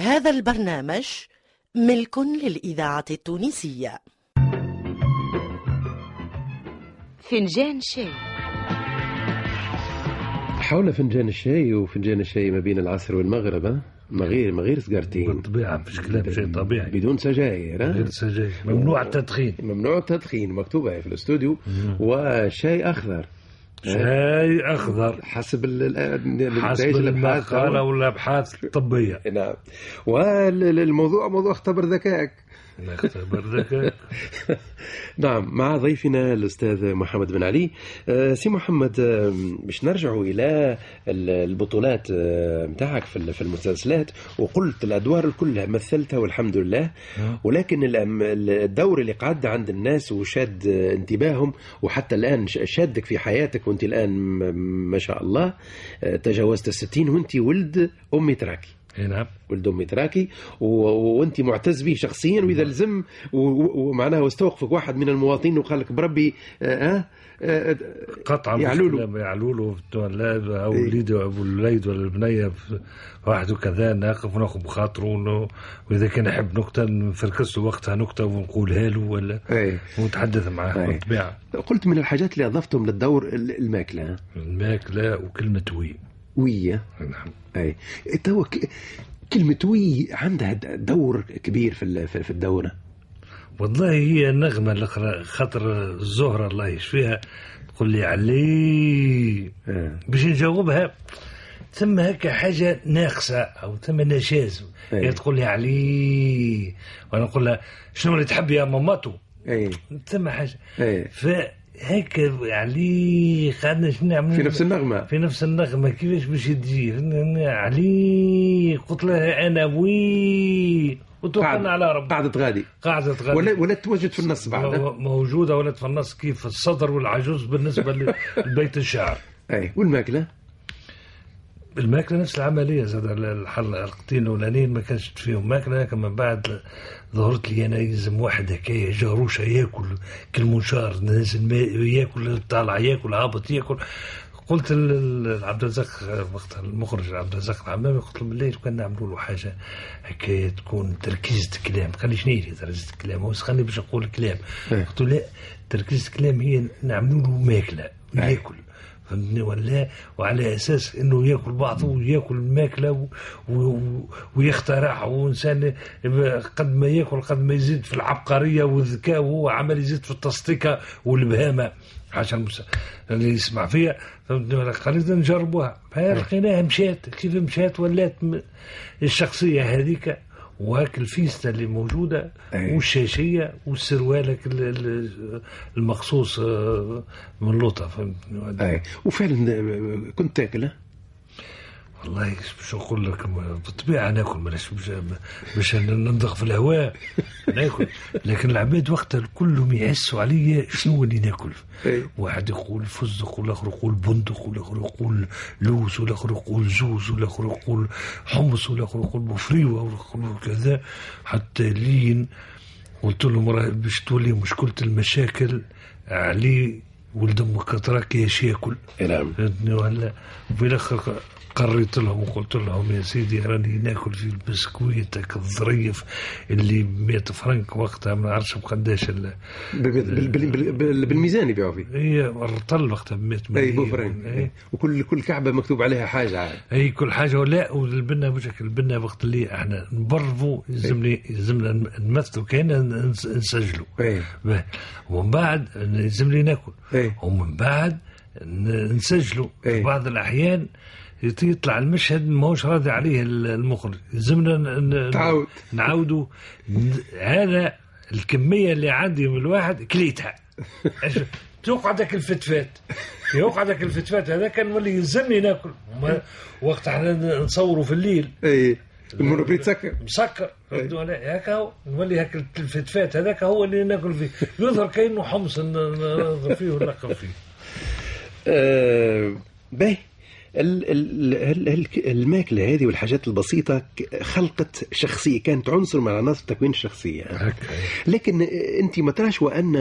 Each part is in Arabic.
هذا البرنامج ملك للإذاعة التونسية فنجان شاي حول فنجان الشاي وفنجان الشاي ما بين العصر والمغرب ها؟ من غير من غير سكارتين بالطبيعة مفيش كلام شيء طبيعي بدون سجاير ها؟ غير سجاير ممنوع التدخين ممنوع التدخين مكتوبة في الاستوديو وشاي أخضر شاي أخضر حسب ال- ال- حسب نتائج الأبحاث المقالة والأبحاث الطبية نعم والموضوع موضوع اختبر ذكائك نختبر ذكاء نعم مع ضيفنا الأستاذ محمد بن علي آه، سي محمد آه، باش نرجعوا إلى ال- البطولات آه، متاعك في ال- في المسلسلات وقلت الأدوار كلها مثلتها والحمد لله ولكن الأم- الدور اللي قعد عند الناس وشاد انتباههم وحتى الآن ش- شادك في حياتك وانت الآن م- ما شاء الله آه، تجاوزت الستين وانت ولد أمي تراكي إي نعم ولد امي تراكي و... و- وانت معتز به شخصيا واذا لزم و... و- ومعناها واستوقفك واحد من المواطنين وقال لك بربي آه آه آه قطعا يعلولو. إيه. يعلولو في التوالد او الوليد او الوليد ولا البنيه في- واحد وكذا ناقف وناخذ بخاطره ون- واذا كان يحب نكته نفركس له وقتها نكته ونقولها له ولا أي. ونتحدث معاه أي. بالطبيعه قلت من الحاجات اللي اضفتهم للدور ال- الماكله الماكله وكلمه وي وية نعم اي توا ك- كلمة وي عندها د- دور كبير في ال- في في الدورة والله هي النغمة الأخرى خاطر الزهرة الله يشفيها تقول لي علي آه. باش نجاوبها ثم هكا حاجة ناقصة أو ثم نجاز أي. هي تقول لي علي وأنا نقول لها شنو اللي تحب يا ماماتو اي ثم حاجة أي. فهكا علي خدنا شنو نعمل في نفس النغمة في نفس النغمة كيفاش باش تجي علي قلت لها أنا وي وتوكلنا على ربي قعدت غادي قاعدة غادي ولا ولا تتوجد في النص بعد مو- موجودة ولد في النص كيف الصدر والعجوز بالنسبة ل- لبيت الشعر اي والماكلة الماكلة نفس العملية زاد الحل القطين الأولانيين ما كانش فيهم ماكلة لكن من بعد ظهرت لي أنا يلزم واحد هكايا جاروشة ياكل كالمنشار نازل ما- ياكل طالع ياكل هابط ياكل قلت ل- ل- لعبد الرزاق وقتها المخرج عبد الرزاق العمامي قلت له بالله لو كان نعملوا له حاجه هكايا تكون تركيز الكلام قال لي شنو هي تركيز الكلام هو خلي باش نقول الكلام إيه. قلت له لا تركيز الكلام هي نعملوا له ماكله ياكل فهمتني ولا وعلى اساس انه ياكل بعضه وياكل الماكله و... و... ويخترع وانسان قد ما ياكل قد ما يزيد في العبقريه والذكاء وهو عمال يزيد في التصطيكه والبهامه عشان المس... اللي يسمع فيها فهمتني ولا خلينا نجربوها فلقيناها مشات كيف مشات ولات م... الشخصيه هذيك وهاك الفيستا اللي موجوده أي. والشاشيه والسروالك ال- ال- المقصوص آه، من لوطه فهمتني ولا- اي وفعلا آه، كنت تاكله والله شو نقول لك بالطبيعه ناكل ماناش مش- مش ننضغ في الهواء ناكل لكن العباد وقتها كلهم يحسوا عليا شنو اللي ناكل إيه. واحد يقول فزق والاخر يقول بندق والاخر يقول لوز والاخر يقول زوز والاخر يقول حمص والاخر يقول بفريوه والاخر يقول كذا حتى لين قلت لهم راه باش تولي مشكله المشاكل علي ولد امك تراك ياش ياكل اي نعم فهمتني ولا وفي الاخر قريت لهم وقلت لهم يا سيدي راني ناكل في البسكويتك الظريف اللي ب 100 فرنك وقتها ما نعرفش بقداش ال- بال- بال- بال- بال- بال- بالميزان يبيعوا فيه هي الرطل وقتها ب 100 اي مليم. بوفرين اي وكل كل كعبه مكتوب عليها حاجه عاد اي كل حاجه ولا والبنا وجهك البنا وقت اللي احنا نبرفوا يلزمني يلزمنا نمثلوا كان نسجلوا اي به. ومن بعد لازم لي ناكل إيه. ومن بعد ن- نسجلوا إيه. في بعض الاحيان يت- يطلع المشهد ماهوش راضي عليه ال- المخرج لازمنا ن- ن- تعاود. نعاودوا ن- هذا الكميه اللي عندي من الواحد كليتها أش- تقعدك الفتفات يقعدك الفتفات هذا كان ولي يلزمني ناكل وما- وقت احنا ن- نصوروا في الليل اي المونوبري تسكر مسكر فهمت ولا هكا هو نولي هاك الفتفات هذاك هو اللي ناكل فيه يظهر كانه حمص ن- نضرب فيه ونلقب فيه آه باهي ال- ال- ال- ال- الماكله هذه والحاجات البسيطه ك- خلقت شخصيه كانت عنصر من عناصر تكوين الشخصيه لكن انت ما تراش وان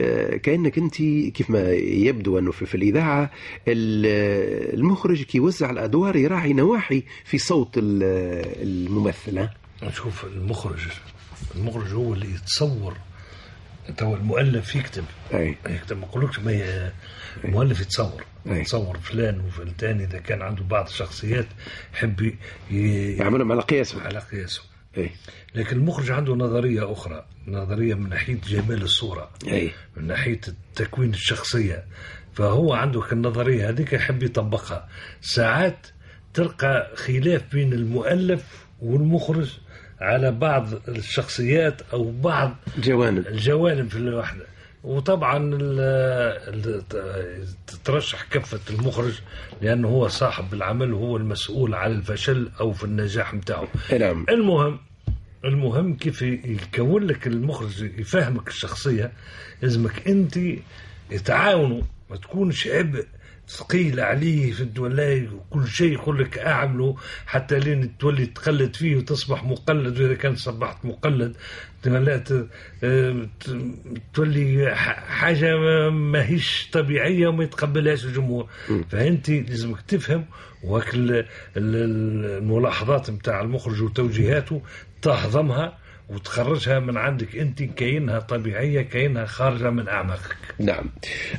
آه، كانك انت كيف ما يبدو انه في, في الاذاعه ال- المخرج كي يوزع الادوار يراعي نواحي في صوت ال- الممثل ها؟ شوف المخرج المخرج هو اللي يتصور انت هو المؤلف يكتب اي يكتب ما نقولكش ما ي- المؤلف يتصور أي. يتصور فلان وفلان اذا كان عنده بعض الشخصيات يحب ي- ي- يعملهم على إيه. قياسهم على قياسه اي لكن المخرج عنده نظريه اخرى نظريه من ناحيه جمال الصوره اي من ناحيه تكوين الشخصيه فهو عنده النظريه هذيك يحب يطبقها ساعات تلقى خلاف بين المؤلف والمخرج على بعض الشخصيات او بعض جوانب الجوانب في الواحده وطبعا ال- ال- تترشح كفه المخرج لانه هو صاحب العمل وهو المسؤول على الفشل او في النجاح نتاعه أي نعم المهم المهم كيف يكون لك المخرج يفهمك الشخصيه لازمك انت تعاونوا ما تكونش عبء ثقيل عليه في الدولاي وكل شيء يقول لك اعمله حتى لين تولي تقلد فيه وتصبح مقلد واذا كان صبحت مقلد لا ت- آه، ت- تولي ح- حاجه ما- ماهيش طبيعيه وما يتقبلهاش الجمهور فانت لازمك تفهم وهاك ال- ال- ال- الملاحظات نتاع المخرج وتوجيهاته تهضمها وتخرجها من عندك انت كأنها طبيعيه كأنها خارجه من اعماقك نعم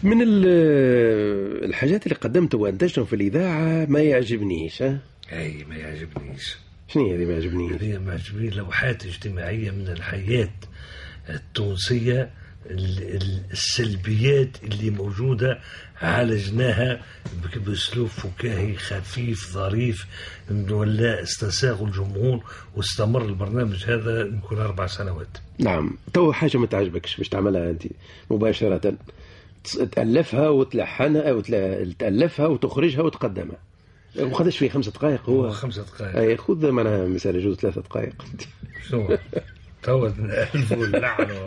من ال- الحاجات اللي قدمتها وانتجتهم في الاذاعه ما يعجبنيش ها؟ اي ما يعجبنيش شنو هي اللي ما يعجبنيش؟ هذه ما يعجبني لوحات اجتماعيه من الحياه التونسيه ال- ال- السلبيات اللي موجوده عالجناها بك- باسلوب فكاهي خفيف ظريف ولا استساغوا الجمهور واستمر البرنامج هذا يمكن اربع سنوات نعم تو حاجه ما تعجبكش باش تعملها انت مباشره تس- تالفها وتلحنها وتل- تالفها وتخرجها وتقدمها ما خدش في خمس دقائق هو هو خمسة دقائق اي خذ معناها مثال يجوز ثلاثة دقائق شو توا الف واللعنه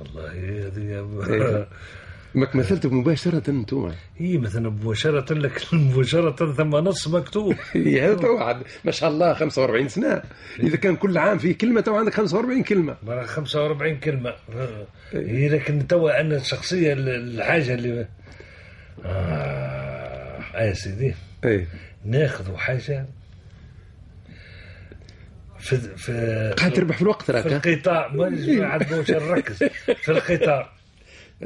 والله هذه ماك مثلت مباشرة انتم هي مثلا إيه، مباشرة لك مباشرة ثم نص مكتوب هذا تو عاد ما شاء الله 45 إيه. سنة إذا كان كل عام فيه كلمة تو عندك 45 كلمة مرة 45 كلمة هي لكن توا أنا الشخصية ال- الحاجة اللي آه يا سيدي اي ناخذ حاجة في في قاعد تربح في الوقت في راك ها؟ القطار ما نجم عاد مش نركز في القطار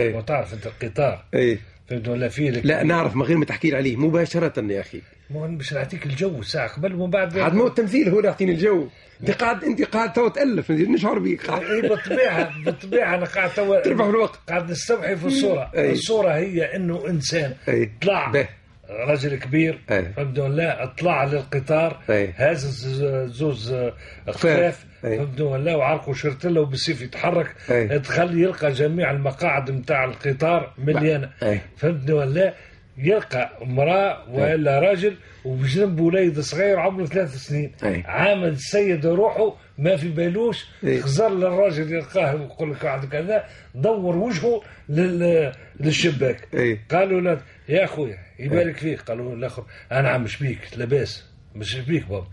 اي وتعرف أنت القطار اي فهمت ولا فيه لك إيه. لا نعرف من غير ما تحكي لي عليه مباشرة يا أخي مو أنا باش نعطيك الجو ساعة قبل ومن بعد عاد مو التمثيل هو اللي يعطيني الجو انت قاعد انت قاعد تو تألف نشعر بك إيه، بالطبيعه بالطبيعه انا قاعد توا تربح في الوقت. قاعد نستوحي في الصوره أي. الصوره هي انه انسان أي. طلع به. رجل كبير أي. فهمت ولا طلع للقطار أي. هاز ز- زوز خفاف أي. فهمت ولا وعرقه شرتله وبالسيف يتحرك أي. دخل يلقى جميع المقاعد نتاع القطار مليانه أي. فهمتني ولا يلقى امراه ولا راجل وبجنبه وليد صغير عمره ثلاث سنين أي. عامل السيد روحه ما في بالوش إيه. خزر للراجل يلقاه ويقول لك واحد كذا دور وجهه لل... للشباك إيه. قالوا لا يا اخويا يبارك فيك قالوا الاخر انا عم شبيك لاباس مش شبيك بابا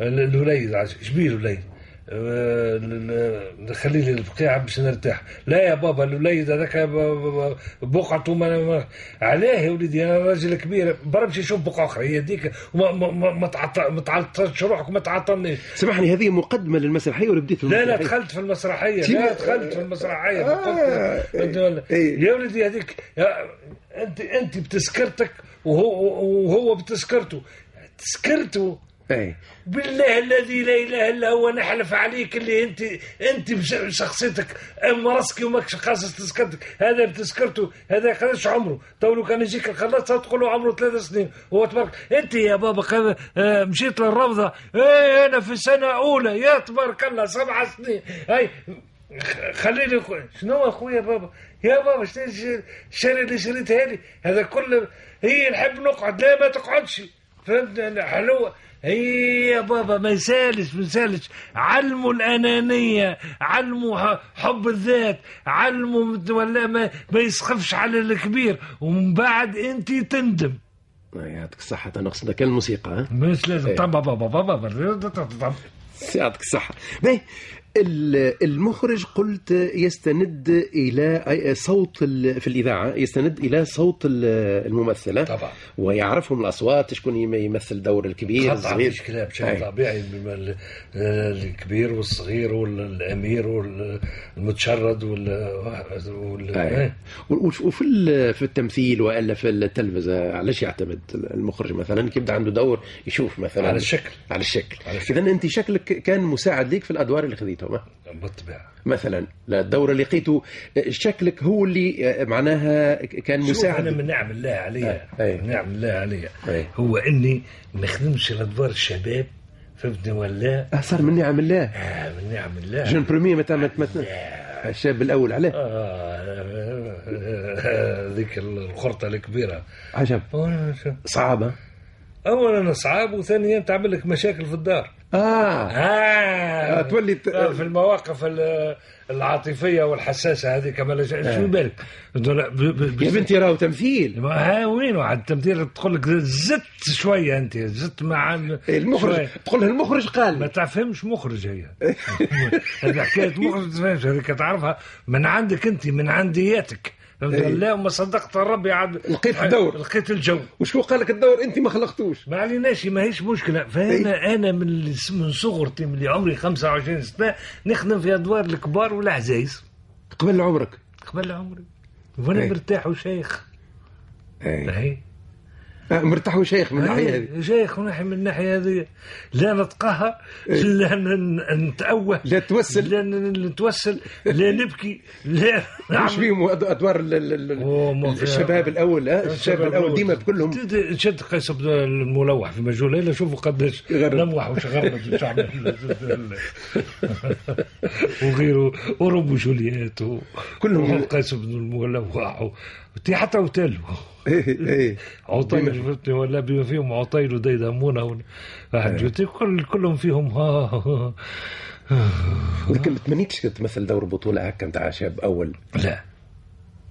ال- الوليد عايش شبيه الوليد آه، ال- ال- خلي لي البقيعة باش نرتاح لا يا بابا الوليد هذاك ب- ب- ب- بقعته ما- ما- علاه يا وليدي انا راجل كبير برمشي شوف بقعة اخرى هي هذيك وما ما- ما ما تعط- ما تعطلش روحك ما تعطلنيش سامحني هذه مقدمة للمسرحية ولا بديت في لا لا المسرحية؟ دخلت في المسرحيه تيما- لا دخلت في المسرحيه آه، قلت- قلت له، إيه. يا ولدي هذيك يا- انت انت بتسكرتك وهو وهو بتسكرته تسكرته اي بالله الذي لا اله الا هو نحلف عليك اللي انت انت بش- بشخصيتك اما راسك وماكش قاصص تسكرتك هذا بتسكرته هذا قداش عمره تو لو كان يجيك الخلاص تقول له عمره ثلاث سنين هو تبارك انت يا بابا قال- آه، مشيت للروضه اي انا في سنه اولى يا تبارك الله سبع سنين هاي خ- خليني أخو- شنو اخويا بابا يا بابا شنو الش- الشارع اللي شريتها لي هذا كله هي نحب نقعد لا ما تقعدش فهمتني انا حلوه هي يا بابا ما يسالش ما يسالش علموا الانانيه علموا ح- حب الذات علموا مت- ولا ما, ما يسخفش على الكبير ومن بعد انت تندم يعطيك الصحة أنا قصدنا كان الموسيقى ها مش لازم إيه. طب بابا بابا بابا يعطيك الصحة باهي ال- المخرج قلت يستند الى صوت ال- في الاذاعه يستند الى صوت ال- الممثله طبعا ويعرفهم الاصوات شكون يم- يمثل دور الكبير قطعا مش الصغير كلام أي. شيء طبيعي بما ال- الكبير والصغير والامير والمتشرد وال- وال أي. إيه. و- وش- وفي ال- في التمثيل والا في التلفزه علاش يعتمد المخرج مثلا كيبدا عنده دور يشوف مثلا على الشكل على الشكل على الشكل. اذا انت شكلك كان مساعد ليك في الادوار اللي خذيتهم ها؟ بالطبيعه مثلا الدوره اللي لقيته شكلك هو اللي آه، معناها كان شوف انا مساعد من نعم الله عليا آه، أي. أي. من نعم الله عليا أي. هو اني ما نخدمش الادوار الشباب فهمتني ولا صار من نعم الله آه آه. من نعم الله جون بريمي متى ما تمثل الشاب الاول عليه آه، ذيك آه، الخرطة الكبيرة عجب صعبة أولا صعاب وثانيا تعمل لك مشاكل في الدار اه آه آه، تولي ت- آه، في المواقف ال- العاطفية والحساسة هذه كما لا شيء- شو بالك دول- ب- ب- يا آه. بنتي راهو تمثيل ما- ها وين عاد التمثيل تقول لك زدت شوية أنت زدت مع ال- إيه، المخرج شوية. تقول لها المخرج ما قال تفهمش مخرج هي هذه حكايه مخرج ما تفهمش هذيك تعرفها من عندك انت من عندياتك فهمت؟ إيه. لا وما صدقت ربي عاد لقيت الدور. لقيت الجو وشكون قال لك الدور انت ما خلقتوش ما عليناش ما هيش مشكله إيه. فانا انا من اللي س- من صغرتي من اللي عمري 25 سنه نخدم في ادوار الكبار والعزايز قبل عمرك قبل عمري وانا إيه. مرتاح وشيخ إيه. آه، مرتاح وشيخ من الناحيه هذه إيه، شيخ ونحي من الناحيه هذه لا نتقهر لا ن- ن- نتأوه إيه. لا توسل. لا ن- ن- نتوسل لا نبكي لا نعم. مش بيهم أد- ادوار ال- ال- ال- أوه، ما في- الشباب الاول آه، الشباب الاول ديما كلهم ت- ت- شد قيس بن الملوح في مجهول ليلى شوفوا قداش يغرد. لموح وش غرد الشعب وغيره ورب جوليات و- كلهم- وقيس بن الملوح و- حتى وتلو إيه، إيه. عطيل بما- فهمتني ولا بما فيهم عطيل وديدمونه إيه. وحجوتي كل كلهم فيهم ها, ها, ها ولكن ما تمنيتش تمثل دور بطوله هكا نتاع شاب اول لا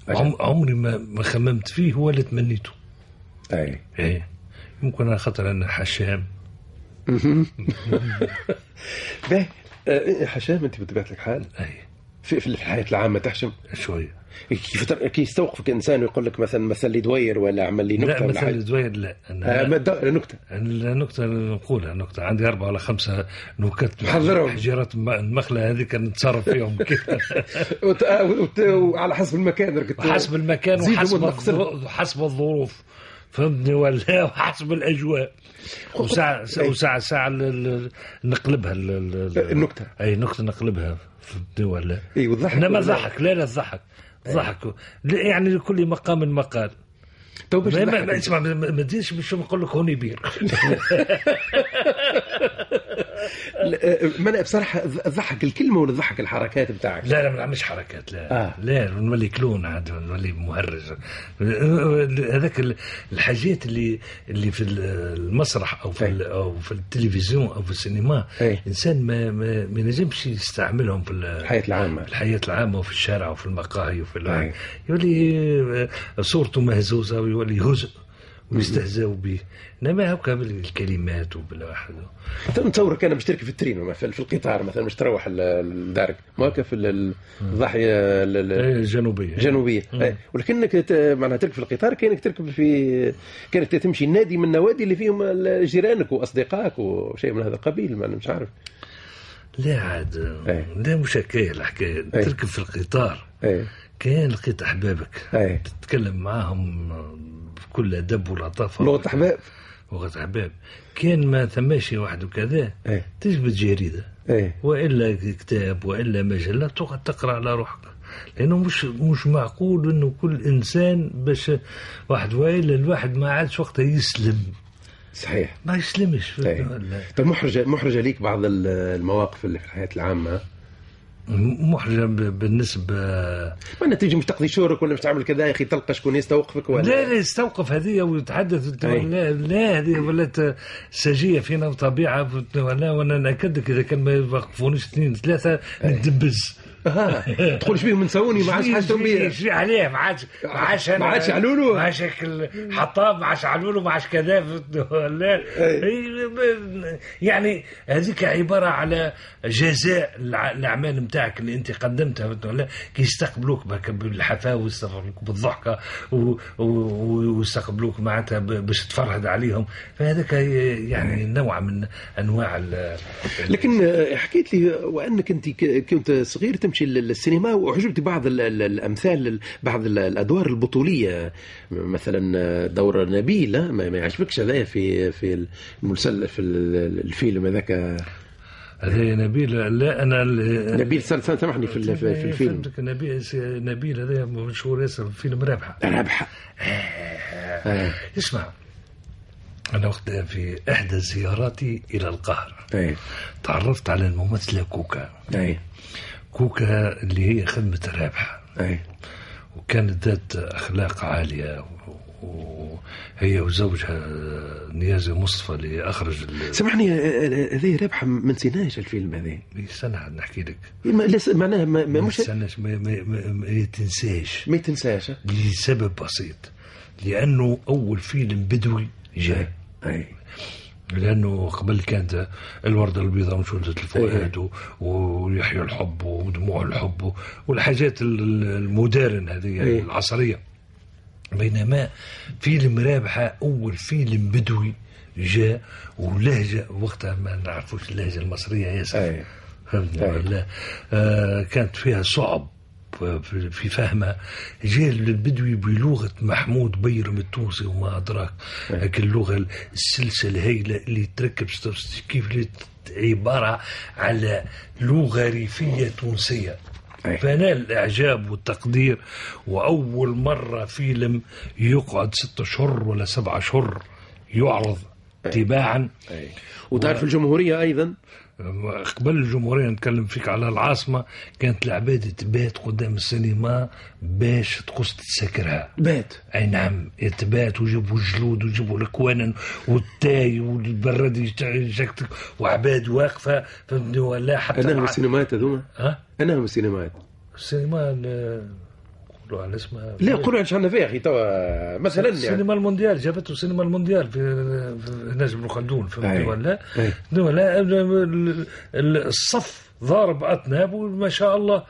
عشان- عم عمري ما ما خممت فيه ولا تمنيته اي ايه يمكن على خاطر انا حشام باهي آه، حشام انت بطبيعه الحال اي في في الحياه العامه تحشم شويه كيف تر- كي يستوقفك انسان ويقول لك مثلا مثل لي دوير ولا عمل لي لا نكته ولا مثل حاجه زويد لا آه، انا ما تدور- نكته النكتة اللي نقولها نكتة عندي أربعة ولا خمسة نكت حضرهم. حجرات الم- المخلة هذيك نتصرف فيهم كيف وت- آه، وت- وعلى حسب المكان ركت وحسب المكان زيد وحسب ونقص لك. الظ- وحسب الظروف فهمتني ولا وحسب الاجواء وساعة أي. وساعة ساعة ال- ال- نقلبها ال- ال- ال- إيه، النكتة. اي نكتة نقلبها فهمتني ولا اي إيه، والضحك انما ولا- الضحك لا لا الضحك إيه. الضحك لا، يعني لكل مقام مقال تو باش ما- ما- تضحك. ما- اسمع ما ما- ما تجيش باش نقول لك هوني بير لا، آه، ما انا بصراحه الض- الضحك الكلمه ولا الضحك الحركات بتاعك لا لا ما نعملش حركات لا آه. لا نولي كلون عاد نولي مهرج هذاك ال- الحاجات اللي اللي في ال- المسرح او في أي. ال- او في التلفزيون او في السينما أي. الانسان ما ما, ما ينجمش يستعملهم في ال- الحياه العامه في الحياة العامة وفي الشارع وفي المقاهي وفي ال- أي. يولي آه، صورته مهزوزة ويولي هزء ويستهزأوا به انما هكا بالكلمات وبالواحد مثلا نتصورك انا مشترك في الترينو مثلا في القطار مثلا مش تروح ل- لدارك ما هكا في ال- الضاحيه ال- ال- آه، جنوبية جنوبيه أي. إيه. ولكنك ت- معناها تركب في القطار كانك تركب في كانك تمشي النادي من النوادي اللي فيهم ال- جيرانك واصدقائك وشيء من هذا القبيل ما أنا مش عارف لا عاد أي. لا مش هكايا الحكايه أي. تركب في القطار اي كان لقيت احبابك أي. تتكلم معاهم بكل ادب ولطافه لغه احباب لغه احباب كان ما ثماشي واحد وكذا أي. تجبد جريده اي والا كتاب والا مجله تقعد تقرا على روحك لانه مش مش معقول انه كل انسان باش واحد والا الواحد ما عادش وقتها يسلم صحيح إيه. ما يسلمش أي. طب محرجه محرجه ليك بعض ال- المواقف اللي في الحياه العامه محرجه ب- بالنسبه ما أنت تيجي مش تقضي شورك ولا مش تعمل كذا يا اخي تلقى شكون يستوقفك ولا لا لا يستوقف هذه ويتحدث وت- أي. لا لا هذه ولات سجيه فينا وطبيعه وت- ولا وانا ناكدك اذا كان ما يوقفونيش اثنين ثلاثه ندبز ها تقولش بهم نسوني ما عادش حاجتهم بيه شري عليه ما عادش ما عادش ما عادش علولو. ما عادش هيك حطاب ما عادش علولو ما عادش كذا فهمت ولا هي- ب- يعني هذيك عباره على جزاء الع- الاعمال نتاعك اللي انت قدمتها فهمت ولا كي يستقبلوك بك بالحفاوي يستقبلوك بالضحكه و- و- ويستقبلوك معناتها ب- باش تفرهد عليهم فهذاك يعني نوع من انواع ال- لكن آه، حكيت لي وانك انت ك- كنت صغير تمشي لل- للسينما واعجبت بعض ال- ال- الامثال ال- بعض ال- الادوار البطوليه مثلا آه، دور نبيل آه، ما ما يعجبكش هذا في في المسلسل في ال- الفيلم هذاك هذا نبيل لا انا ال- نبيل سل- سل- سامحني يعني في ال- في في الفيلم فهمتك نبيل نبيل هذا مشهور ياسر فيلم رابحه رابحه آه، اسمع انا وقت في احدى زياراتي الى القاهره أي، تعرفت على الممثله كوكا أي، كوكا اللي هي خدمه رابحه أي. وكانت ذات اخلاق عاليه وهي وزوجها نيازي مصطفى اللي اخرج ال- سامحني آه، آه، هذه رابحه ما نسيناش الفيلم هذا استنى نحكي لك ما- لا، س- معناها ما- ما- ما مش تستناش ما, ما, ما, ما تنساش ما تنساش آه. لسبب بسيط لانه اول فيلم بدوي جاء إيه. أي. لانه قبل كانت الورده البيضاء وشلة الفؤاد و- ويحيى الحب ودموع الحب و- والحاجات ال- ال- المودرن هذه إيه. العصريه بينما فيلم رابحه اول فيلم بدوي جاء ولهجه وقتها ما نعرفوش اللهجه المصريه ياسر أي. فهمتني أي. ولا آه كانت فيها صعب آه، في في فهمها جاء البدوي بلغه محمود بيرم التونسي وما ادراك هيك اللغه السلسه الهائله اللي تركب ست- كيف اللي ت- عباره على لغه ريفيه تونسيه أي. فنال الاعجاب والتقدير واول مره فيلم يقعد ست اشهر ولا سبع اشهر يعرض تباعا أي. وتعرف الجمهوريه ايضا قبل الجمهورية نتكلم فيك على العاصمة كانت العباد تبات قدام السينما باش تقص تسكرها بات اي نعم تبات وجابوا الجلود وجابوا الكوانن والتاي والبراد يشكتك وعباد واقفه فهمتني ولا حتى انا من الع- السينمات هذوما ها انا من السينمات السينما ال- قولوا على اسمها لا قولوا عن شان فيها اخي توا مثلا يعني السينما المونديال جابته سينما المونديال في, في نجم بن خلدون فهمتني أي. ولا أي. ولا ال- ال- الصف ضارب اطناب وما شاء الله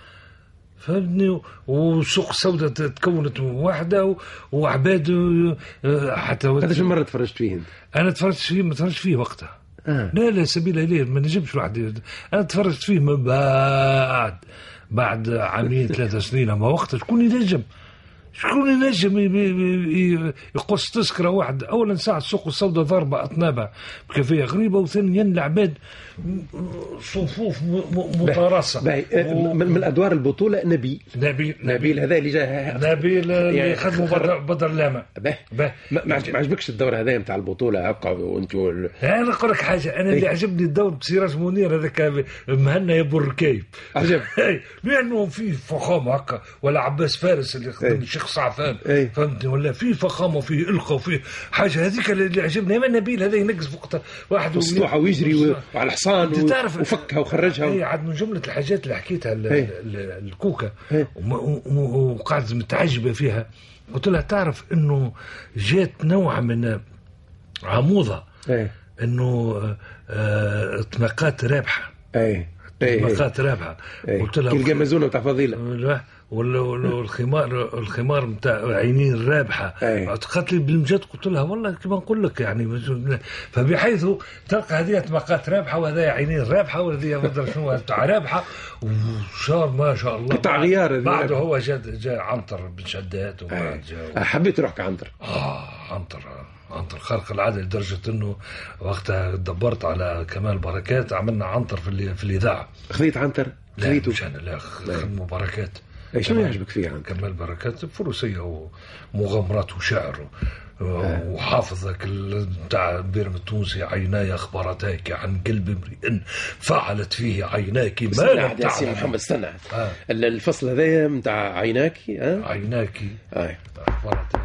فهمتني و- وسوق سوداء ت- تكونت وحده و- وعباد آه، حتى وقت- هذا شو مره تفرجت فيه انت انا تفرجت فيه ما تفرجت فيه وقتها آه. لا لا سبيل اليه ما نجمش لوحدي انا تفرجت فيه من بعد بعد عامين ثلاثة سنين اما وقتها شكون ينجم شكون ينجم ي- ي- ي- يقص تذكره واحد اولا ساعه السوق السوداء ضربه اطنابها بكفيه غريبه وثانيا العباد م- صفوف م- م- متراصه باهي، آه، و- من من ادوار البطوله نبيل نبيل نبيل نبيل هذا اللي جاه نبيل اللي يعني خدمه بدر بدر لامه باهي. باهي. ما ما عجب- ما عجبكش الدور هذا نتاع البطوله هكا وانتوا ال- انا نقول لك حاجه انا إيه. اللي عجبني الدور بسراج منير هذاك مهنا يا الركيب عجب. إي، لانه في فخامه هكا ولا عباس فارس اللي خدم إي. الشيخ سعفان إي. فهمتني ولا في فخامه وفي القى وفي حاجه هذيك اللي عجبني اما نبيل هذا ينقز وقت واحد والسطوحه ويجري و- وعلى الحصان انت و- تعرف إيه. وفكها وخرجها إيه. اي و- عاد من جمله الحاجات اللي حكيتها ال- اي. ال- الكوكا اي. وما- و- و- وقعدت متعجبه فيها قلت لها تعرف انه جات نوع من عموضه اي انه آه، اطلاقات رابحه اي اي اطلاقات رابحه اي. قلت لها كي والخ- الجمازونه نتاع فضيله ولا- ولا- ولا الخمار الخمار نتاع عينين الرابحه اي. اعتقدت لي بالمجد قلت لها والله كما نقول لك يعني فبحيث تلقى هذه اطلاقات رابحه وهذا عينين رابحه وهذه ما أدري شنو تاع رابحه وشار ما شاء الله قطع غيار هذه. إيه. بعده هو جا جا عنتر بن شداد أي. وبعد جا حبيت روحك عنتر آه عنتر عنتر خارق العاده لدرجه انه وقتها دبرت على كمال بركات عملنا عنتر في ال- في الاذاعه خذيت عنتر لا خذيته مش انا لا إيه، خدموا بركات أي، شنو كمال- يعجبك فيه عنتر؟ كمال بركات فروسيه ومغامرات وشعر و- آه. وحافظ ذاك ال- بتاع بيرم التونسي عيناي اخبرتاك عن قلب امرئ فعلت فيه عيناك ما استنى لم عاد يا سي تعلم محمد استنى آه. ال- الفصل هذايا نتاع عيناكي اه عيناك اي اخبرتاك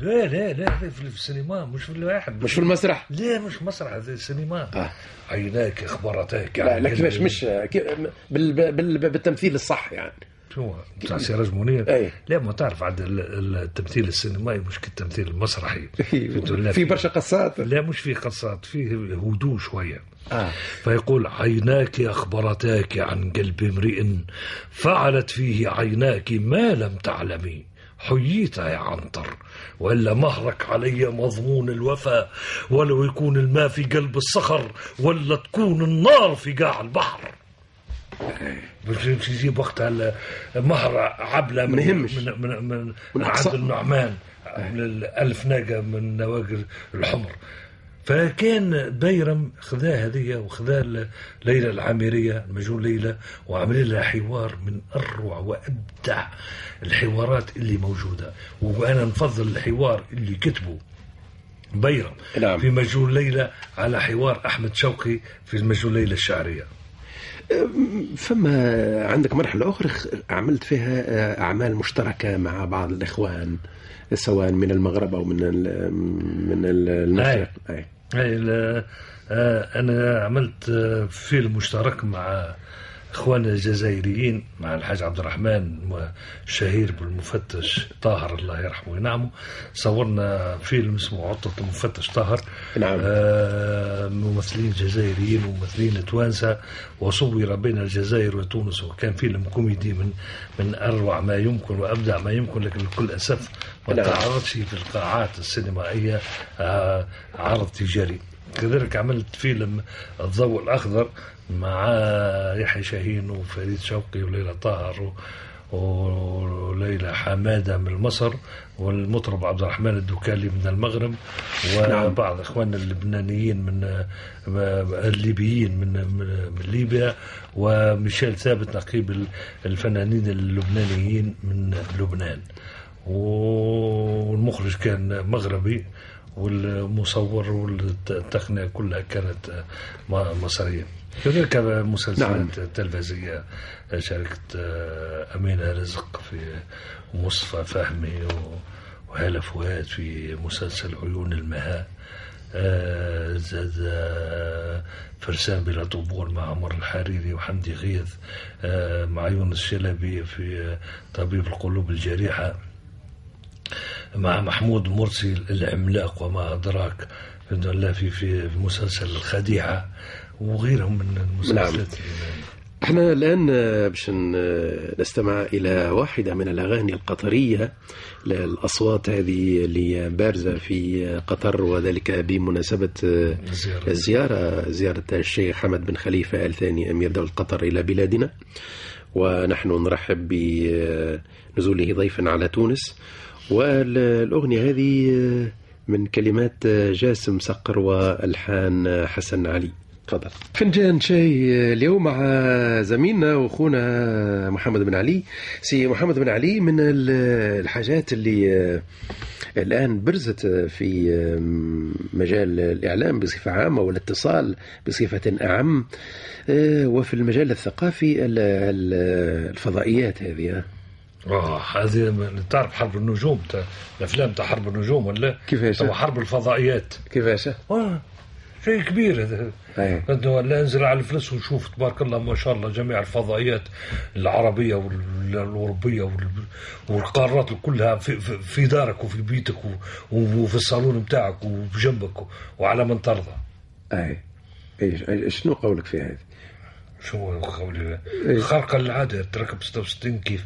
لا لا لا لا، في السينما مش في الواحد مش في المسرح لا مش مسرح هذا السينما آه. عيناك اخبرتاك لا عن لا كيفاش قلبي. مش كي- بال بال بال- بالتمثيل الصح يعني شو بتاع سراج منير أي. لا ما تعرف عاد ال- ال- التمثيل السينمائي مش كالتمثيل المسرحي فهمت ولا؟ في برشا قصات لا مش في قصات فيه هدوء شويه آه. فيقول عيناك أخبرتاك عن قلب امرئ فعلت فيه عيناك ما لم تعلمي حييت يا عنتر وإلا مهرك علي مضمون الوفا ولو يكون الماء في قلب الصخر ولا تكون النار في قاع البحر باش يجيب وقتها ال- مهر عبلة من ما يهمش. من من, من, من من أقصى- عبد النعمان من الألف ناقة من النواقل الحمر فكان بيرم خذا هذه وخذا ل- ليلى العامرية مجنون ليلى وعمل لها حوار من أروع وأبدع الحوارات اللي موجودة وأنا نفضل الحوار اللي كتبه بيرم نعم. في مجنون ليلى على حوار أحمد شوقي في مجنون ليلى الشعرية فما عندك مرحلة أخرى خ- عملت فيها آه، أعمال مشتركة مع بعض الإخوان سواء من المغرب أو من ال- من ال- المشرق أي. أي لا- إيه، آه، انا عملت آه، فيلم مشترك مع اخواننا الجزائريين مع الحاج عبد الرحمن الشهير بالمفتش طاهر الله يرحمه وينعمه صورنا فيلم اسمه عطة المفتش طاهر نعم. آه، ممثلين جزائريين وممثلين توانسة وصور بين الجزائر وتونس وكان فيلم كوميدي من من اروع ما يمكن وابدع ما يمكن لكن لكل اسف ما نعم. تعرضش في القاعات السينمائية آه، عرض تجاري كذلك عملت فيلم الضوء الأخضر مع يحيى شاهين وفريد شوقي وليلى طاهر و- وليلى حمادة من مصر والمطرب عبد الرحمن الدكالي من المغرب وبعض إخواننا اللبنانيين من آه، الليبيين من, من, من ليبيا وميشيل ثابت نقيب ال- الفنانين اللبنانيين من لبنان والمخرج كان مغربي والمصور والتقنية كلها كانت م- مصرية كذلك مسلسلات نعم. تلفزية شاركت آه، أمينة رزق في ومصطفى فهمي و- وهالة فؤاد في مسلسل عيون المها آه، زاد آه، فرسان بلا طبول مع عمر الحريري وحمدي غيث آه، مع يونس شلبي في آه، طبيب القلوب الجريحه مع محمود مرسي العملاق وما أدراك بإذن الله في في في مسلسل الخديعة وغيرهم من المسلسلات احنا الآن آه، باش ن- آه، نستمع إلى واحدة من الأغاني القطرية الأصوات هذه اللي بارزة في قطر وذلك بمناسبة آه، الزيارة. الزيارة زيارة الشيخ حمد بن خليفة آل ثاني أمير دولة قطر إلى بلادنا ونحن نرحب بنزوله ضيفا على تونس والأغنية هذه آه، من كلمات آه، جاسم صقر وألحان آه، حسن علي تفضل فنجان شاي اليوم مع زميلنا واخونا محمد بن علي سي محمد بن علي من ال- الحاجات اللي آه، الان برزت آه، في آه، مجال الاعلام بصفه عامه والاتصال بصفه اعم آه، وفي المجال الثقافي ال- ال- الفضائيات هذه آه. آه هذه من- تعرف حرب النجوم تاع الأفلام تاع حرب النجوم ولا كيفاش؟ توا حرب الفضائيات كيفاش آه شيء كبير هذا أي. انه لا انزل على الفلس ونشوف تبارك الله ما شاء الله جميع الفضائيات العربيه وال- والاوروبيه وال- والقارات كلها في, في- في دارك وفي بيتك و- وفي الصالون بتاعك وبجنبك وعلى من ترضى اي إيش- إيش- شنو قولك في هذا شو هو قولي إيه. خرق العاده تركب 66 كيف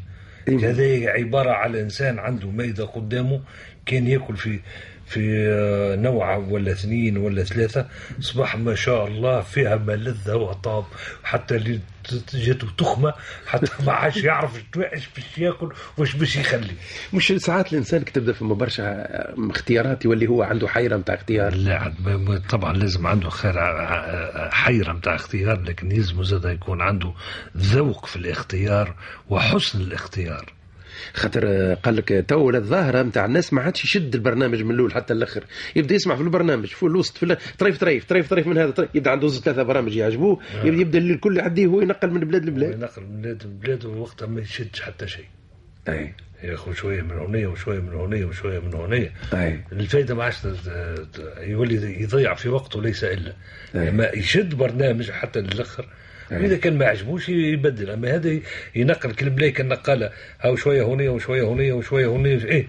إيه. هذا عباره على انسان عنده مائده قدامه كان ياكل في في آه، نوعة ولا اثنين ولا ثلاثة صباح ما شاء الله فيها ما لذة وطاب حتى اللي ت- جاته تخمة حتى ما عادش يعرف ايش باش ياكل واش باش يخلي مش ساعات الانسان كتبدا فما برشا آه، اختيارات واللي هو عنده حيره نتاع اختيار لا عاد ما- ما- طبعا لازم عنده خير آه، حيرة متاع اختيار لكن يلزم زاد يكون عنده ذوق في الاختيار وحسن الاختيار خاطر آه، قال لك تو ولا الظاهره نتاع الناس ما عادش يشد البرنامج من الاول حتى الاخر يبدا يسمع في البرنامج في الوسط في ال- طريف طريف طريف طريف من هذا طريف. يبدا عنده زوج ثلاثه برامج يعجبوه يبدا يبدا الكل يعديه هو ينقل من بلاد لبلاد وينقل من بلاد لبلاد ووقتها ما يشدش حتى شيء اي ياخذ شويه من هنا وشويه من هنا وشويه من هنا أي. الفايده ما عادش ت- ت- ت- يولي يضيع في وقته ليس الا أي. لما يشد برنامج حتى للاخر أي. واذا كان ما عجبوش يبدل اما هذا ي- ينقل كلمه ليك النقاله هاو شويه هنا وشويه هنا وشويه هنا ايه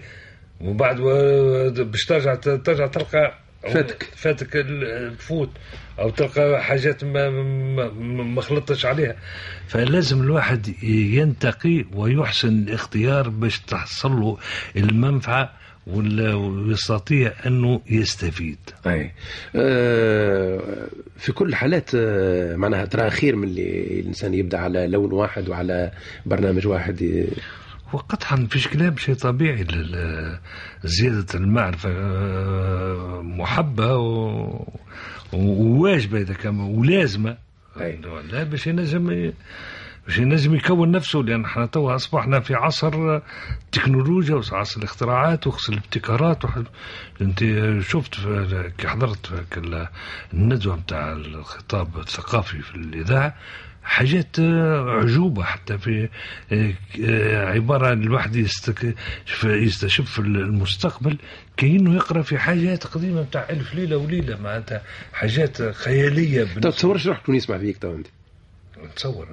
ومن بعد و- باش ترجع ت- ترجع تلقى فاتك. فاتك ال- تفوت او تلقى حاجات ما ما- ما ما خلطتش عليها فلازم الواحد ينتقي ويحسن الاختيار باش تحصل له المنفعه وال- ويستطيع انه يستفيد اي آه، في كل الحالات آه، معناها ترى خير من اللي الانسان يبدا على لون واحد وعلى برنامج واحد ي- وقطعا فيش كلام شيء طبيعي ل- ل- زيادة المعرفة آه، محبة و- وواجبة إذا كان ولازمة أي. لا باش ينجم ي- باش ينجم يكون نفسه لأن احنا توا أصبحنا في عصر التكنولوجيا وعصر الاختراعات وعصر الابتكارات وح- أنت شفت في- كي حضرت في كل- الندوة نتاع الخطاب الثقافي في الإذاعة حاجات آه، عجوبة حتى في آه، آه، عبارة عن الواحد يستك- ف- يستشف المستقبل كأنه يقرأ في حاجات قديمة بتاع ألف ليلة وليلة معناتها حاجات خيالية طب بن- تصورش روحك كون يسمع فيك تو انت نتصور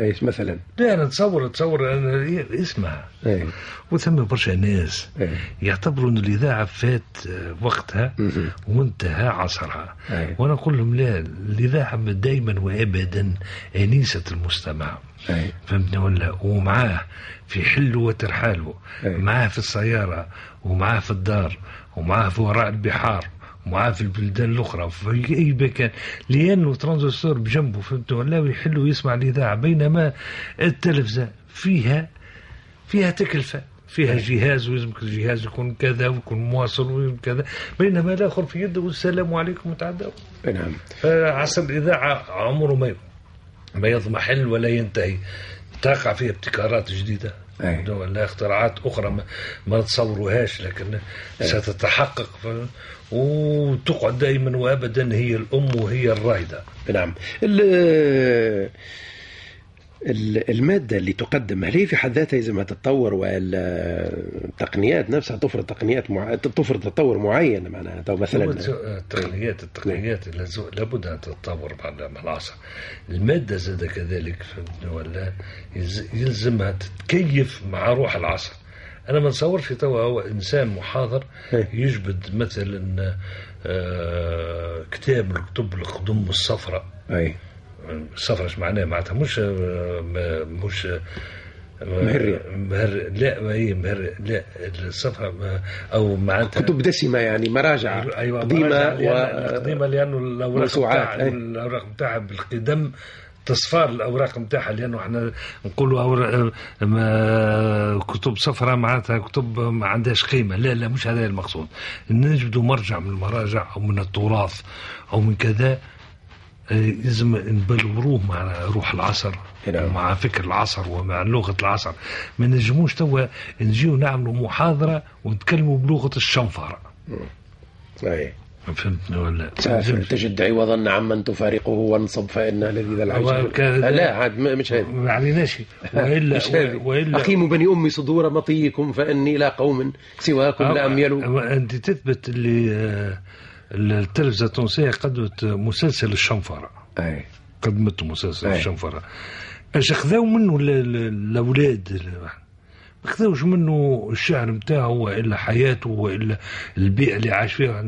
أي، مثلا لا أنا نتصور نتصور أنا اسمع اي وثم برشا ناس أي. يعتبروا أن الإذاعة فات آه، وقتها مهم. وانتهى عصرها أي. وأنا أقول لهم لا الإذاعة دائما وأبدا أنيسة المستمع أي. فهمتني ولا ومعاه في حله وترحاله أي. معاه في السيارة ومعاه في الدار ومعاه في وراء البحار ومعاه في البلدان الأخرى في أي مكان لأنه ترانزستور بجنبه فهمت ولا ويحل ويسمع الإذاعة بينما التلفزة فيها فيها تكلفة فيها جهاز ويلزمك الجهاز يكون كذا ويكون مواصل ويكون كذا بينما الآخر في يده والسلام عليكم وتعدوا أي نعم عصر الإذاعة عمره ما ما يضمحل ولا ينتهي تقع فيه ابتكارات جديدة أي. ولا اختراعات أخرى ما, ما نتصوروهاش لكن ستتحقق ف- وتقعد دائما وأبدا هي الأم وهي الرائدة نعم ال- ال- المادة اللي تقدم هل هي في حد ذاتها يلزمها تتطور والتقنيات نفسها تفرض تقنيات مع... تفرض تطور معين معناها تو هو مثلا الت- التقنيات التقنيات لازم- لابد ان تتطور مع مع العصر الماده زاد كذلك فهمتني ولا يز- يلزمها تتكيف مع روح العصر انا ما نصورش توا هو انسان محاضر إيه. يجبد مثلا آه، كتاب من كتب القدم الصفراء اي الصفراء اش معناه معناتها مش آه، ما- مش آه، مهرية. مهر لا ما هي مهر لا الصفراء ما- او معناتها كتب دسمة يعني مراجع ايوه قديمة مراجع لأن- قديمه لانه الاوراق موسوعات، إيه. بتاع أي. الاوراق بتاعها بالقدم تصفار الاوراق نتاعها لانه احنا نقولوا أوراق ما كتب صفراء معناتها كتب ما عندهاش قيمه لا لا مش هذا المقصود نجدوا مرجع من المراجع او من التراث او من كذا آه، لازم نبلوروه مع روح العصر نعم. مع فكر العصر ومع لغه العصر ما نجموش توا نجيو نعملوا محاضره ونتكلموا بلغه الشنفره اي فهمتني ولا سافر تجد عوضا عمن تفارقه وانصب فان الذي ذا هو العجب كان- لا عاد ما- مش هذه ما عليناش والا مش هذه والا اقيموا بني امي صدور مطيكم فاني لا قوم سواكم لا اميلوا أما انت تثبت اللي آه، التلفزه التونسيه قدمت مسلسل الشنفره اي قدمت مسلسل أي. الشنفره اش خذاو منه ال- ال- الاولاد ما خذاوش منه الشعر نتاعو والا حياته والا البيئه اللي عاش فيها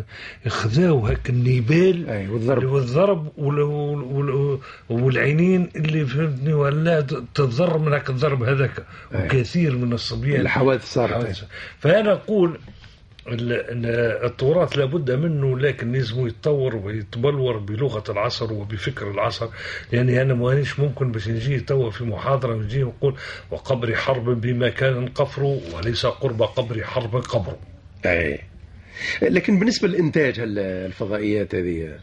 خذاو هاك النبال أي، والضرب. والضرب وال- وال- وال- والعينين اللي فهمتني ولا ت- تتضرر من هاك الضرب هذاك أي. وكثير من الصبيان إيه. الحوادث صارت. الحوادث. فانا اقول ال- ان التراث لابد منه لكن لازم يتطور ويتبلور بلغه العصر وبفكر العصر يعني انا مانيش ممكن باش نجي توا في محاضره ونجي نقول وقبر حرب بمكان قفره وليس قرب قبر حرب قبره اي لكن بالنسبه للانتاج هال- الفضائيات هذه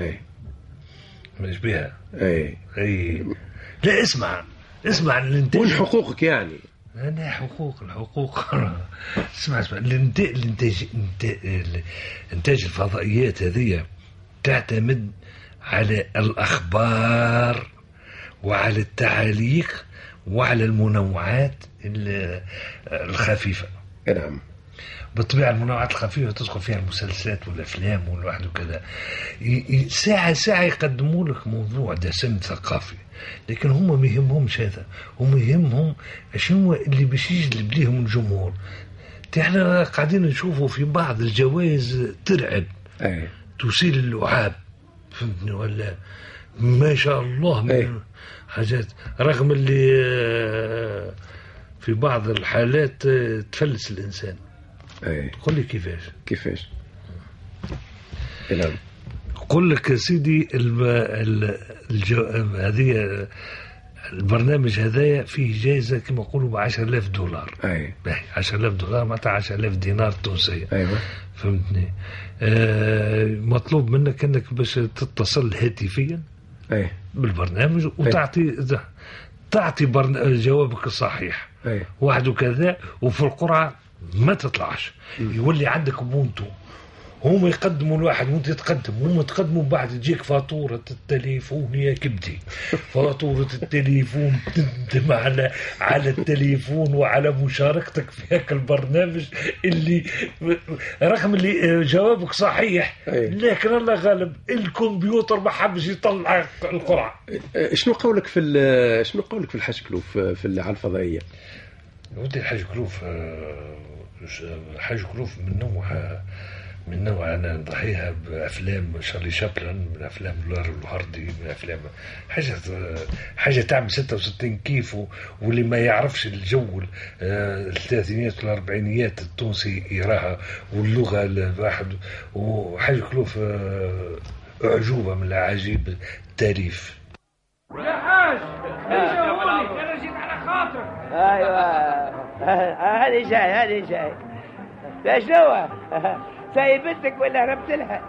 اي مش بها اي اي لا اسمع اسمع الانتاج وين حقوقك يعني انا حقوق الحقوق اسمع اسمع الانت- الانتاج الانت- ال- انتاج الفضائيات هذه تعتمد على الاخبار وعلى التعاليق وعلى المنوعات ال- الخفيفة نعم بالطبيعة المنوعات الخفيفة تدخل فيها المسلسلات والأفلام والواحد وكذا ي- ي- ساعة ساعة يقدموا لك موضوع دسم ثقافي لكن هم ما يهمهمش هذا هم يهمهم شنو اللي باش يجلب ليهم الجمهور احنا قاعدين نشوفوا في بعض الجوائز ترعب اي تثير اللعاب فهمتني ولا ما شاء الله من إيه. حاجات رغم اللي آه، في بعض الحالات آه، تفلس الانسان اي قل لي كيفاش كيفاش نعم قل لك يا سيدي الم... ال... الجو... هذه البرنامج هذايا فيه جائزه كما يقولوا ب 10000 دولار اي باهي 10000 دولار معناتها 10000 دينار تونسيه ايوه فهمتني آه مطلوب منك انك باش تتصل هاتفيا اي بالبرنامج وتعطي تعطي برن... جوابك الصحيح أي. واحد وكذا وفي القرعه ما تطلعش يولي عندك بونتو هم يقدموا الواحد وانت تقدم هم تقدموا بعد تجيك فاتورة التليفون يا كبدي فاتورة التليفون تندم على على التليفون وعلى مشاركتك في هاك البرنامج اللي رغم اللي آه، جوابك صحيح أي. لكن الله غالب الكمبيوتر ما حبش يطلع القرعه أه، شنو قولك في ال- شنو قولك في الحشكلوف آه، في ال- على الفضائيه؟ ودي الحاج كلوف آه، ش- الحاج كلوف من نوع من نوع انا نضحيها بافلام شارلي شابلن من افلام لارل الهاردي من افلام حاجه حاجه تعمل 66 كيف و- واللي ما يعرفش الجو آه، الثلاثينيات والاربعينيات التونسي يراها واللغه الواحد وحاج كلوف آه، اعجوبه من الاعاجيب التاريخ يا حاج ايش اقولك انا جيت على خاطرك ايوه هذه جاي هذه جاي لا شنو سايبتك ولا هربت لها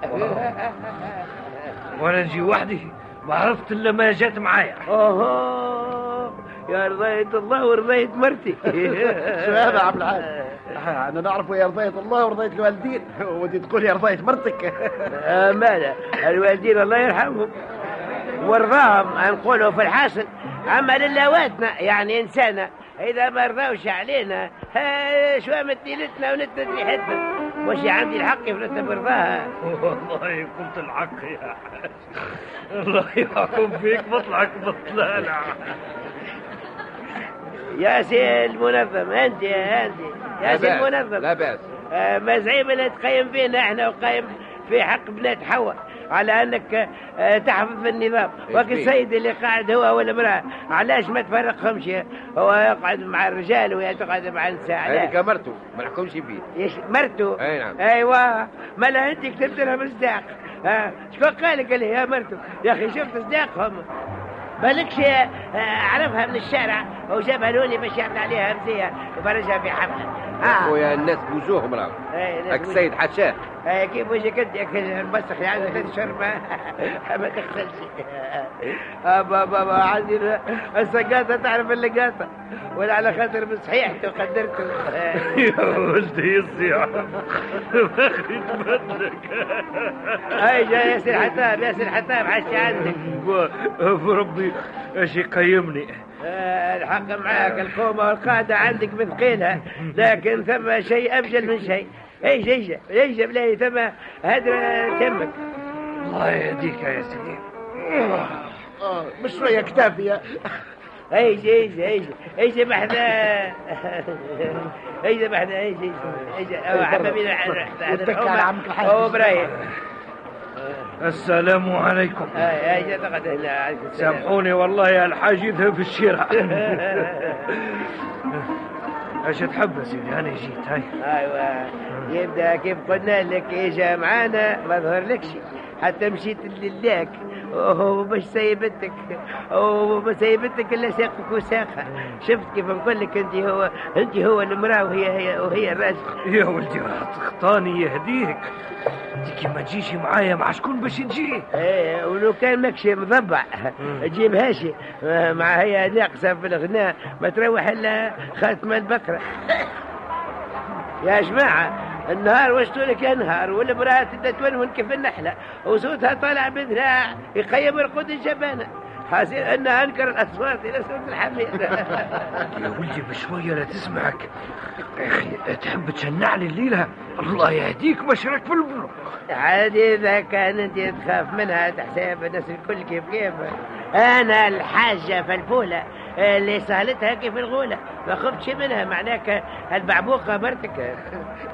وانا نجي وحدي ما عرفت الا ما جات معايا اوهو يا رضيت الله ورضيت مرتي شو هذا عبد العال انا نعرفه يا رضاية الله ورضاية الوالدين ودي تقول يا رضاية مرتك آه، ماذا الوالدين الله يرحمهم ورضاهم نقولوا في الحاصل اما للواتنا يعني انسانا اذا ما رضاوش علينا آه، شو مديلتنا ونتنا ريحتنا واش عندي الحق يفلتنا برضاها والله قلت الحق يا حاج الله يحكم فيك مطلعك بالطلالة يا سي المنظم انت يا انت يا سي المنظم لا باس آه، ما زعيم اللي تقيم فينا احنا وقايم في حق بنات حواء على انك آه، تحفظ النظام وكل السيد اللي قاعد هو والمراه علاش ما تفرقهمش هو يقعد مع الرجال وهي تقعد مع النساء علاش؟ مرته ما نحكمش بيه يش مرته أيوة. أي نعم. ايوه ما لا انت كتبت لها مصداق آه، شكون قال لك اللي هي مرته يا اخي شفت صداقهم بالكش آه، عرفها من الشارع وجابها لوني باش يعطي عليها مزيه وفرجها في حبل إيه، اه خويا الناس بوجوههم راهو إي، لازم هاك السيد حشاه آه، كيف وجهك انت يا أخي المسخ اللي عندك ثلاث شهور ما ما تغسلش آه، بابا بابا عندي السقاطه تعرف اللقاطه ولا على خاطر بصحيحته قدرته آه. يا ولدي يصيح ما خدمتك اي جاي ياسر حتاب ياسر حتاب حشي عندك بربي اش يقيمني آه، الحق معاك القومة والقادة عندك مثقيلها لكن ثم شيء أبجل من شيء ايش ايش ايش بلاي ثم هدر تمك الله يهديك يا سيدي مش شوية كتافية ايش ايش ايش ايش بحذا ايش بحذا ايش ايش ايش أو حبابينا على واتكل على عمك الحاج. او برايم السلام عليكم اي اي تقعد هنا عليك السلام. سامحوني والله يا الحاج يذهب في الشارع اش تحب يا سيدي انا يعني جيت هاي ايوه يبدا كيف قلنا لك اجا معانا ما ظهر لكش حتى مشيت للاك ومش سايبتك وما سايبتك الا ساقك وساقها شفت كيف نقول لك انت هو انت هو المراه وهي هي وهي الراجل يا ولدي راه تخطاني يهديك انت كي ما تجيش معايا مع شكون باش نجي ايه ولو كان ماكش مضبع جيبهاش مع هي ناقصه في الغناء ما تروح الا خاتمه البكره يا جماعة النهار واش طولك يا نهار والمرأة تتونون كيف النحلة وصوتها طالع بذراع يقيم رقود الجبانة حسيت ان انكر الاصوات الى صوت الحمير يا ولدي بشوية لا تسمعك يا أخي تحب تشنعني الليلة الله يهديك مشرك في البر عادي اذا كان انت تخاف منها تحسب الناس الكل كيف كيف انا الحاجه فلفوله اللي سهلتها كيف الغوله ما خفتش منها معناك البعبوقه مرتك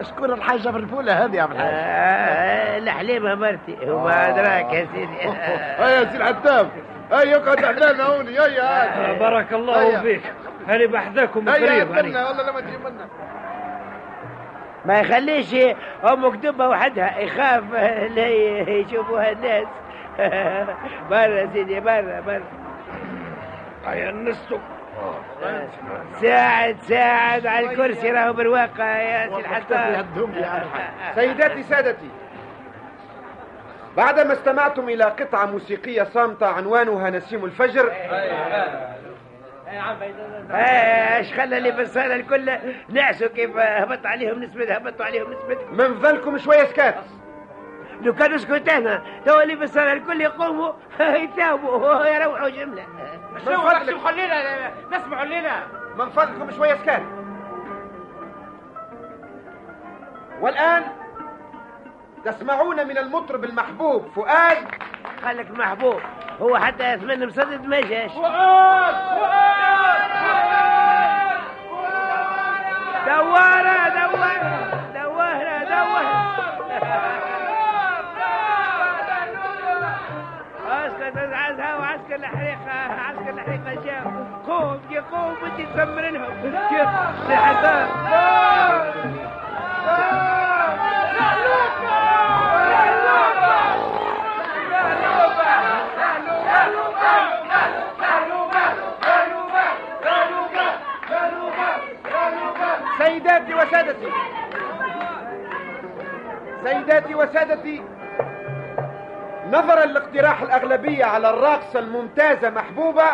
شكون الحاجه بالفوله هذه يا عم الحاج آه، الحليمه مرتي آه. وما ادراك يا سيدي هيا سي العتاب هيا اقعد احلانا هوني هيا هات. آه. بارك الله هيا. فيك هاني بحذاكم هيا قريب هات هاني. منا، والله لما تجيب منا ما يخليش امك دبه وحدها يخاف لا ي- يشوفوها الناس برا سيدي برا برا هيا نستو ساعد ساعد على الكرسي راهو بالواقع يا سي والله الحطاب يهدهم يا عم الحاج سيداتي سادتي بعدما استمعتم إلى قطعة موسيقية صامتة عنوانها نسيم الفجر آه، اش خلى اللي في الصاله الكل نعسوا كيف هبط عليهم نسبة هبطوا عليهم نسبة من فضلكم شوية سكات لو كانوا سكوتانا تو اللي في الصاله الكل يقوموا يتاوبوا يروحوا جمله شنو راك شو خلينا نسمعوا الليله من فضلكم شوية سكات والآن تسمعون من المطرب المحبوب فؤاد قال لك محبوب هو حتى يثمن مسدد ما جاش دوارة دوارة دوارة دوارة عسكر تزعزها وعسكر الحريقة عسكر الحريقة جاء قوم يا قوم انت تسمرنهم كيف الحساب سيداتي وسادتي سيداتي وسادتي نظرا لاقتراح الأغلبية على الراقصة الممتازة محبوبة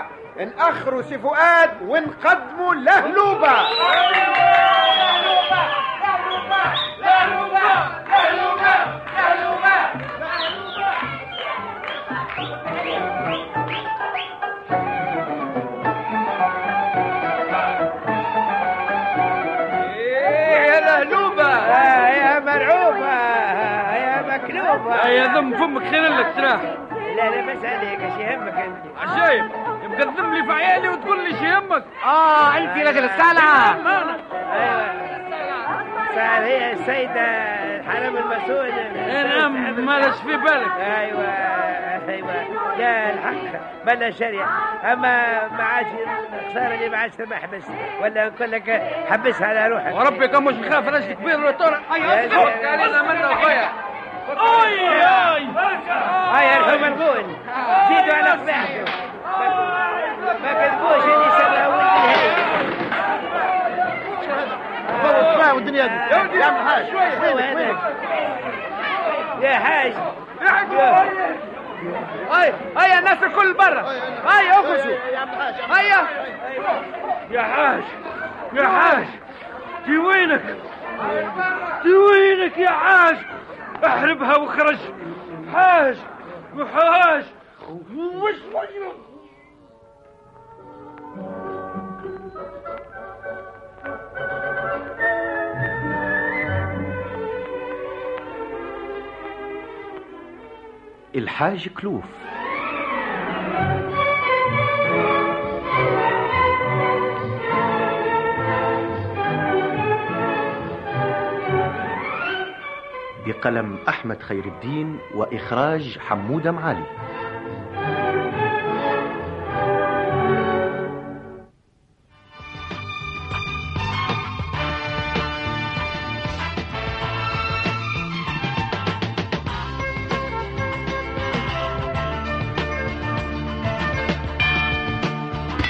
نأخروا سي فؤاد ونقدموا لهلوبة آه، يا مرعوبة آه، يا مكلوبة هيا ذم فمك خير لك تراه لا لا بس عليك ايش يهمك انت عجايب مقدم لي في عيالي وتقول لي شي يهمك اه انت رجل الصلعه صار هي السيده الحرام المسؤول نعم مالش في بالك ايوه ايوه لا الحق بلا شريعة اما ما عادش الخساره اللي ما عادش ما حبس ولا نقول لك حبسها على روحك وربي كان مش مخاف راجل كبير ولا طور هيا يا اسكت زلمة. علينا منا خويا هاي ارحم البول زيدوا على صباعكم ما كذبوش اللي سبها والنهايه والله اسمع والدنيا دي يا ودي، يا عم الحاج شوية. وينك وينك يا حاج هيا هيا الناس الكل برا هيا اخرجوا يا عم الحاج هيا يا حاج يا حاج تي وينك تي وينك يا حاج احربها واخرج حاج وحاج وش وجهك الحاج كلوف بقلم أحمد خير الدين وإخراج حمودة معالي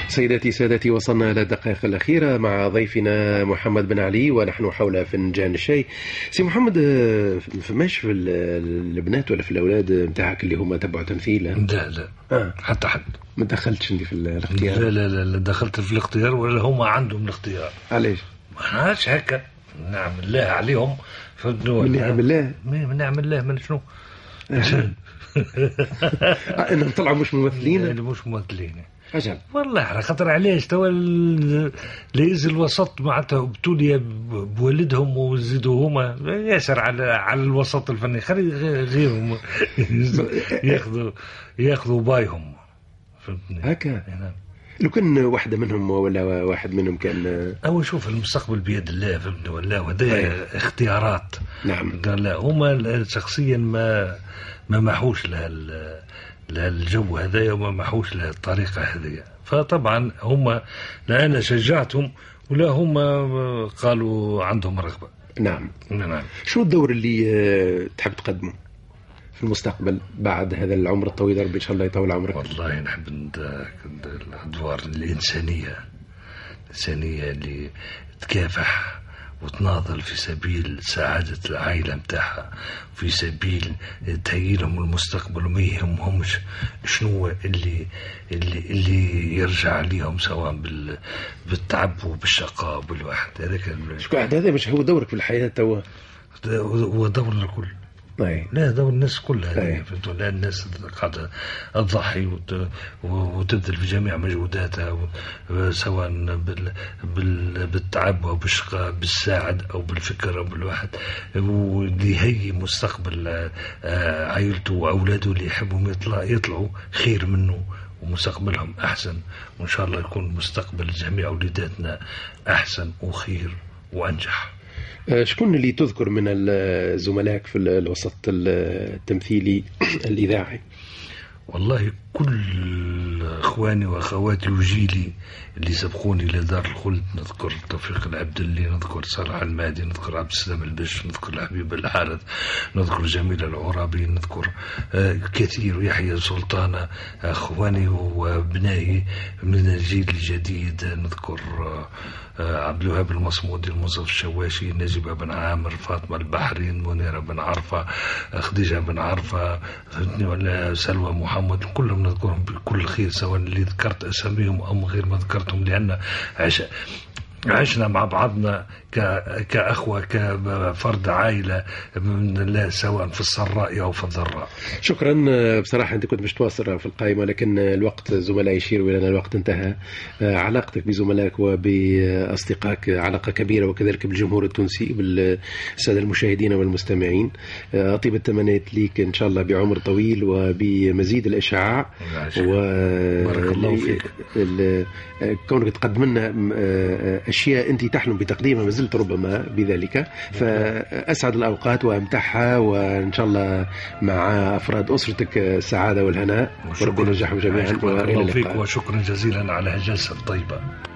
سيداتي سادتي وصلنا إلى الدقائق الأخيرة مع ضيفنا محمد بن علي ونحن حول فنجان الشاي سي محمد آه، فماش في ال- البنات ولا في الأولاد نتاعك اللي هما تبعوا تمثيل آه؟ لا لا آه. حتى حد ما دخلتش انت في ال- لا الاختيار لا لا, لا دخلت في الاختيار ولا هما عندهم الاختيار علاش ما نعرفش هكا نعم الله عليهم فهمتني ولا؟ من نعم الله من نعم الله من شنو انهم طلعوا آه، مش ممثلين مش ممثلين اجل والله على خاطر علاش توا ال- العز الوسط معناتها ابتلي ب- بوالدهم وزيدوا هما ياسر على على الوسط الفني خلي غ- غيرهم ياخذوا ياخذوا بايهم فهمتني هكا نعم. لو كان واحده منهم ولا واحد منهم كان اول شوف المستقبل بيد الله فهمت ولا وهذا اختيارات نعم قال لا هما شخصيا ما ما محوش لها ال- لها الجو هذايا وما محوش لها الطريقه هذيا فطبعا هما لا انا شجعتهم ولا هما قالوا عندهم رغبه نعم نعم شو الدور اللي آه، تحب تقدمه في المستقبل بعد هذا العمر الطويل ربي ان شاء الله يطول عمرك والله نحب ند- ند- الادوار الانسانيه الانسانيه اللي تكافح وتناضل في سبيل سعادة العائلة متاعها في سبيل تهيئلهم المستقبل وما يهمهمش شنو اللي اللي اللي يرجع عليهم سواء بال بالتعب وبالشقاء وبالواحد هذاك ال- شكون عاد هذا مش هو دورك في الحياه توا هو دورنا الكل طيب لا دور الناس كلها أي. فهمت لا الناس قاعدة تضحي وت- وتبذل في جميع مجهوداتها و- سواء بال بال بالتعب أو بالشقاء بالساعد أو بالفكر أو بالواحد وليهيئ مستقبل آه، آه، عائلته وأولاده اللي يحبهم يطلع يطلعوا خير منه ومستقبلهم أحسن وإن شاء الله يكون مستقبل جميع وليداتنا أحسن وخير وأنجح آه، شكون اللي تذكر من ال- زملائك في ال- الوسط التمثيلي الاذاعي والله كل اخواني واخواتي وجيلي اللي سبقوني الى دار الخلد نذكر توفيق العبدلي نذكر صالح المهدي نذكر عبد السلام البش نذكر الحبيب الحارث نذكر جميل العرابي نذكر آه، كثير يحيى آه، سلطانه اخواني وابنائي من الجيل الجديد نذكر آه، آه، عبد الوهاب المصمودي المصطفى الشواشي نجيب بن عامر فاطمه البحري منيره بن عرفه آه، خديجه بن عرفه فهمتني ولا سلوى محمد كلهم نذكرهم بكل خير سواء اللي ذكرت اساميهم او غير ما ذكرتهم لان عش عشنا مع بعضنا ك- كأخوة كفرد عائلة من لا سواء في السراء أو في الضراء شكرا آه، بصراحه انت كنت مش تواصل في القائمه لكن آه، الوقت زملاء يشيروا الى ان الوقت انتهى آه، علاقتك بزملائك وباصدقائك آه، علاقه كبيره وكذلك بالجمهور التونسي بالساده المشاهدين والمستمعين آه، طيب التمنيات ليك ان شاء الله بعمر طويل وبمزيد الاشعاع و بارك الله فيك. ال- كونك تقدم لنا م- اشياء انت تحلم بتقديمها ما زلت ربما بذلك فاسعد الاوقات وامتعها وان شاء الله مع آه، افراد اسرتك السعاده والهناء وربي ينجحهم جميعا بارك وإلى الله فيك اللقاء وشكرا جزيلا على هالجلسة الطيبة